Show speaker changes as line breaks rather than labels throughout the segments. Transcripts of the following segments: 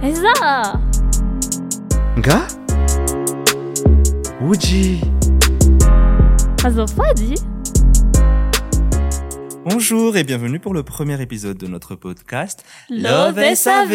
Trésor
Nga Wuji
Fadi
Bonjour et bienvenue pour le premier épisode de notre podcast
Love SAV.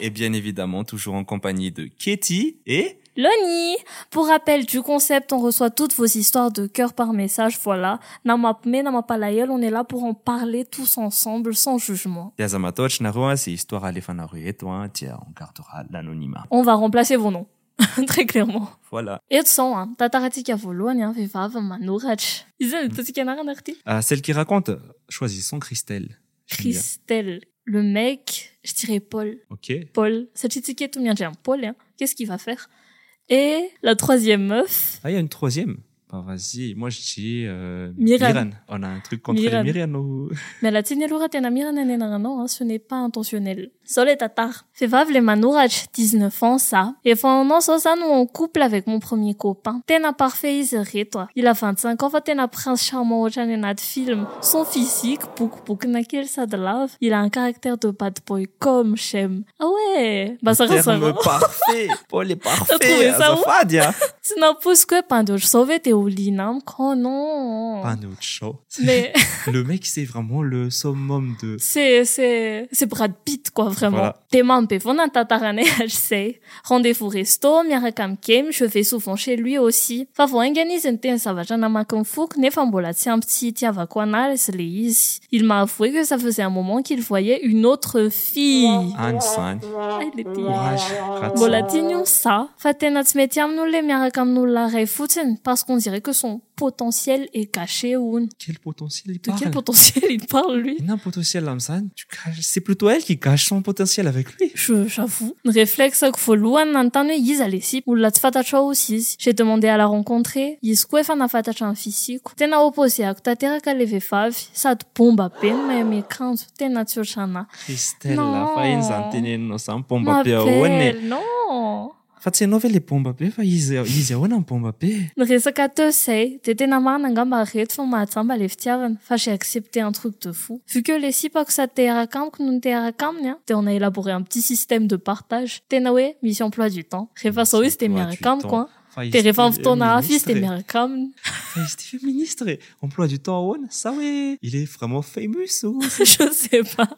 Et bien évidemment, toujours en compagnie de Katie et...
Loni Pour rappel du concept, on reçoit toutes vos histoires de cœur par message, voilà. Namapme, Namapalayel, on est là pour en parler tous ensemble, sans jugement.
Yazama Tochnaroa, c'est histoire à l'effanaru et toi, tiens, on gardera l'anonymat.
On va remplacer vos noms, très clairement.
Voilà.
Et sans, hein, tataratika volohany, hein, vehivavy manoratra. Izy any hitatsika anarana ary ty?
Ah, celle qui raconte, choisissons Christelle. Génial.
Christelle, le mec, je dirais Paul.
Ok.
Paul, cette étiquette, tout bien, j'ai un Paul, hein. qu'est-ce qu'il va faire Et la troisième meuf,
Ah, il y a une troisième. Bah, vas-y, moi je dis... euh,
Miran.
On a un truc contre
Miran.
les Miran ou...
mais la tignelura tenamira nananana, hein, ce n'est pas intentionnel. Sole tatar. Fevav le manorach, 19 ans, ça. Et fin an, sans ça, nous en couple avec mon premier copain. Tena parfait, il serait toi. Il a 25 ans, va tena prince charmant, ochanena de film. Son physique, pouk pouk nakel ça de lave. Il a un caractère de bad boy comme Shem. Ah ouais! Bah, ça
Terme
ressemble.
parfait. Paul est parfait.
trouvé ça où
Azafad, ya.
Tu n'en pousses que pas de sauver tes oulinam, quand Oh non.
Pas notre show.
Mais
Le mec, c'est vraiment le summum de.
c'est, c'est, c'est Brad Pitt, quoi, vraiment.
Voilà.
T'es mampé, on a tatarane, je sais. Rendez-vous resto, miarakam kem, je vais souvent chez lui aussi. Favo organise un thé, ça va, j'en ai ma confouk, ne fambola, tiens, petit, tiens, va quoi, nal, c'est les easy. Il m'a avoué que ça faisait un moment qu'il voyait une autre fille.
Anne Sagne.
Ah, il est pire.
Courage. Ratsa.
Mbola tignon ça, fatena tsy mety amin'olona miaraka amin'olona ray fotsiny parce qu'on dirait que son potentiel est caché ou de
Quel potentiel il
quel
parle.
potentiel il parle lui
Il a un potentiel, Lamsan. Tu caches- C'est plutôt elle qui cache son potentiel avec lui.
Je, j'avoue. Réflexe que faut louer en tant que yiz alessi ou la tfatatra aussi. J'ai demandé à la rencontrer. Yiz kouef en afatatra en physique. Tena opposé à tatera ka leve favi. Ça te bombe à peine, mais mes craintes, tena tiochana.
Christelle,
Non.
la faille, Zantene, no san
Ma
pomba pe awene.
belle, non!
Fa tsy anao ve le pomba pe fa izy izy ahoana ny pomba pe
Ny resaka teo zay de tena marina angamba reto fa mahatsamba le fitiavana fa j'ai accepté un truc de fou vu que les sipako sa teraka amiko no niteraka aminy a de on a élaboré un petit système de partage tena hoe misy emploi du temps rehefa zao izy de miaraka amiko a
Fa izy
de rehefa
ty
amin'ny fotoana hafa izy de
ministre e.
miaraka aminy
Fa izy ty ministre e. emploi du temps ahoana ça hoe il est vraiment famous oh. ou
je sais pas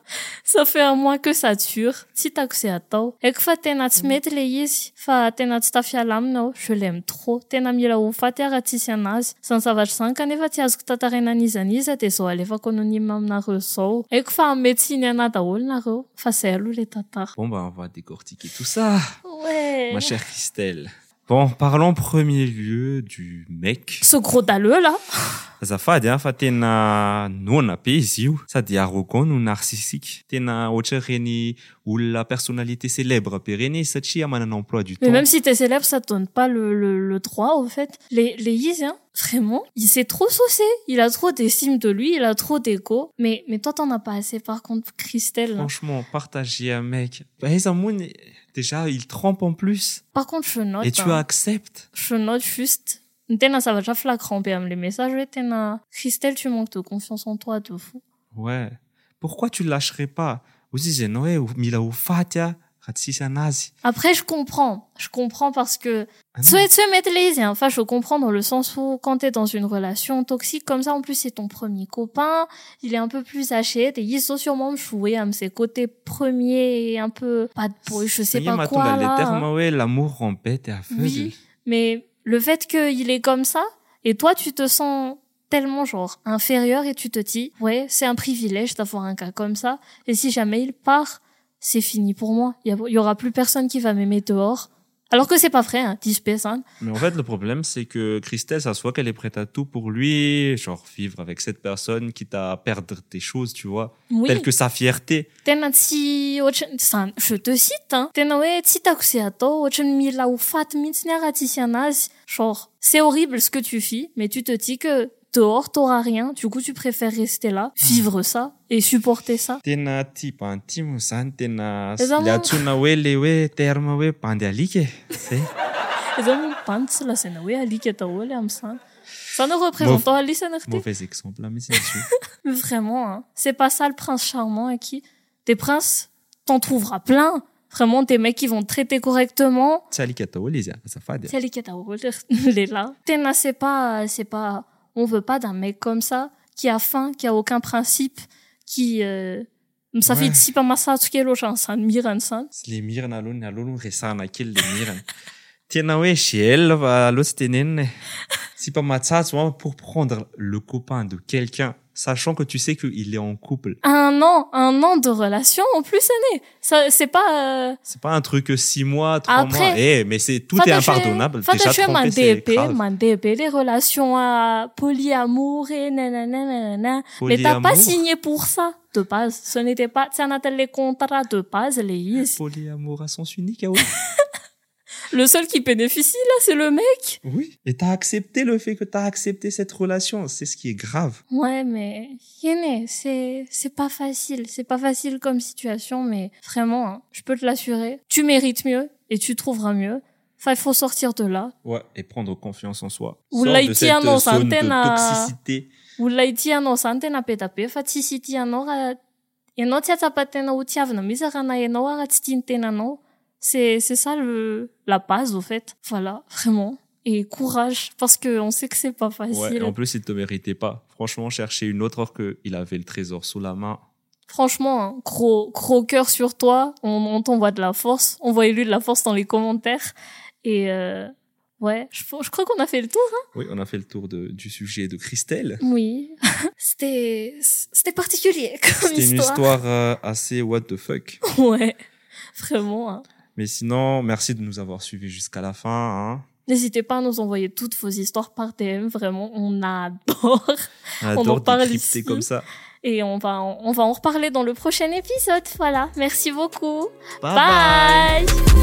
ça fait un mois que ça dure tsy hitako izay atao eko fa tena tsy mety le izy fa tena tsy tafiala aminy aho je l'aime trop tena mila ho faty araha tsisy anazy zany zavatra zany kanefa tsy azoko tantaraina aniza aniza de zao alefako anonyme aminareo zao eko fa ametsiny anahy daholo nareo fa zay aloha le tantara
bon bah on va décortiquer tout ça
ouais
ma chère Christelle bon parlons en premier lieu du mec
ce gros daleux là
azafady an fa tena nona be izy io sady arrogant no narcissika tena ohatra reny olona personnalité célèbre be reny izy satria manana emploi du
Mais
temps
même si t'es célèbre, ça te donne pas le, le, le droit, au fait. Les, les Yeezy, hein, vraiment, il s'est trop saucé. Il a trop d'estime de lui, il a trop d'ego. Mais, mais toi, t'en as pas assez, par contre, Christelle. hein.
franchement partager un mec Bah, Aiza Moon, déjà il trempe en plus
Par contre, je note.
et tu
hein.
acceptes
Je note juste. Tena, ça va déjà flagrant, BM, les messages. ouais, Tena, Christelle, tu manques de confiance en toi, de fou.
ouais pourquoi tu lâcherais pas ozy izy ianao hoe mila ah, ho faty a raha tsisy anazy
Après, je comprends. Je comprends parce que
Ah non.
Souhaite se mettre les hein. Enfin, je comprends dans le sens où quand t'es dans une relation toxique comme ça, en plus c'est ton premier copain, il est un peu plus haché, t'es ils sont sûrement me jouer à ses côtés premiers et un peu pas de boy, je sais
Igny
pas
mahatonga
quoi
le
là.
terme hoe l'amour rend bête et aveugle
Oui. Mais le fait qu'il est comme ça et toi tu te sens tellement genre inférieur et tu te dis ouais c'est un privilège d'avoir un cas comme ça et si jamais il part c'est fini pour moi il y, a- il y aura plus personne qui va m'aimer dehors alors que c'est pas vrai hein, 10 personnes
Mais en fait, le problème, c'est que Christelle, ça se voit qu'elle est prête à tout pour lui, genre vivre avec cette personne, quitte à perdre tes choses, tu vois,
oui
telles que sa fierté.
tena tsy ohatra zany je te cite hein tena hoe tsy hitako izay atao ohatrany mila ho faty mihitsy ny raha tsisy anazy genre c'est horrible ce que tu fis mais tu te dis que dehors t'auras rien du coup tu préfères rester là vivre ça et supporter ça
Tena ty mpantimo zany, tena
Eza
le
moa-
antsoina hoe le hoe terme hoe mpandeha alika e. Zay.
zao mipany tsy lazaina hoe alika daholo amin'izany zany hoe représentant alisana rty
Mauvais exemple mihitsy izy io.
Mais vraiment, hein. c'est pas ça le prince charmant à qui des princes, t'en trouveras plein. Vraiment, des mecs qui vont te traiter correctement.
تساليك الطول زين صفادي
C'est les catalogues, les là. Tena, c'est pas, c'est pas, on veut pas d'un mec comme ça, qui a faim, qui a aucun principe, qui, euh, ça fait
Ouais.
si pas massa, tout qu'est l'autre, ça mire un sens.
سليميرنا لون لون غيصانا كي لميرن تينا واش يلفا لوستينين سي با ماتسا pour prendre le copain de quelqu'un sachant que tu sais qu'il est en couple
Un an, un an de relation, en plus, année. Ça, c'est pas, euh,
c'est pas un truc que six mois trois
Après-
mois eh mais c'est tout est impardonnable déjà
Fatache
trompé, c'est
mandébé,
grave.
mandébé, les relations à polyamour et nanana, nanana. Mais t'as pas
Polyamour.
signé pour ça, de base. Ce n'était pas, ça n'attelle les contrats de base, les is.
polyamour à sens unique ah oui
Le seul qui bénéficie, là, c'est le mec.
Oui. Et t'as accepté le fait que t'as accepté cette relation. C'est ce qui est grave.
Ouais, mais, Yéné, c'est, c'est pas facile. C'est pas facile comme situation, mais vraiment, hein, je peux te l'assurer. Tu mérites mieux et tu trouveras mieux. Enfin, il faut sortir de là.
Ouais. Et prendre confiance en soi.
Ou
Sors
là, il
de
tient
cette
nos
zone de
antennes à-
toxicité.
Ulla ity anao zany tena be da be fa tsisy ity anao raha ianao tsy atsapa-tena ho tiavina mihitsy raha na ianao aho raha tsy tiany tenanao c'est c'est ça le la base au fait voilà vraiment et courage parce que on sait que c'est pas
Ouais.
facile
Et en plus, il te méritait pas. Franchement, chercher une autre alors qu'il avait le trésor sous la main.
franchement hein, gros gros cœur sur toi on, on t'envoie de la force on voit élu de la force dans les commentaires et euh, ouais je, je crois qu'on a fait le tour
Oui, on a fait le tour de- du sujet de Christelle.
oui c'était c'était particulier comme
C'était une
histoire.
histoire euh, assez what the fuck.
ouais vraiment hein.
Mais sinon, merci de nous avoir suivis jusqu'à la fin. hein.
N'hésitez pas à nous envoyer toutes vos histoires par DM, vraiment, on adore.
On
en
adore
parle
décrypter
ici.
comme ça.
Et on va, en- on va en reparler dans le prochain épisode, voilà. Merci beaucoup.
bye.
bye.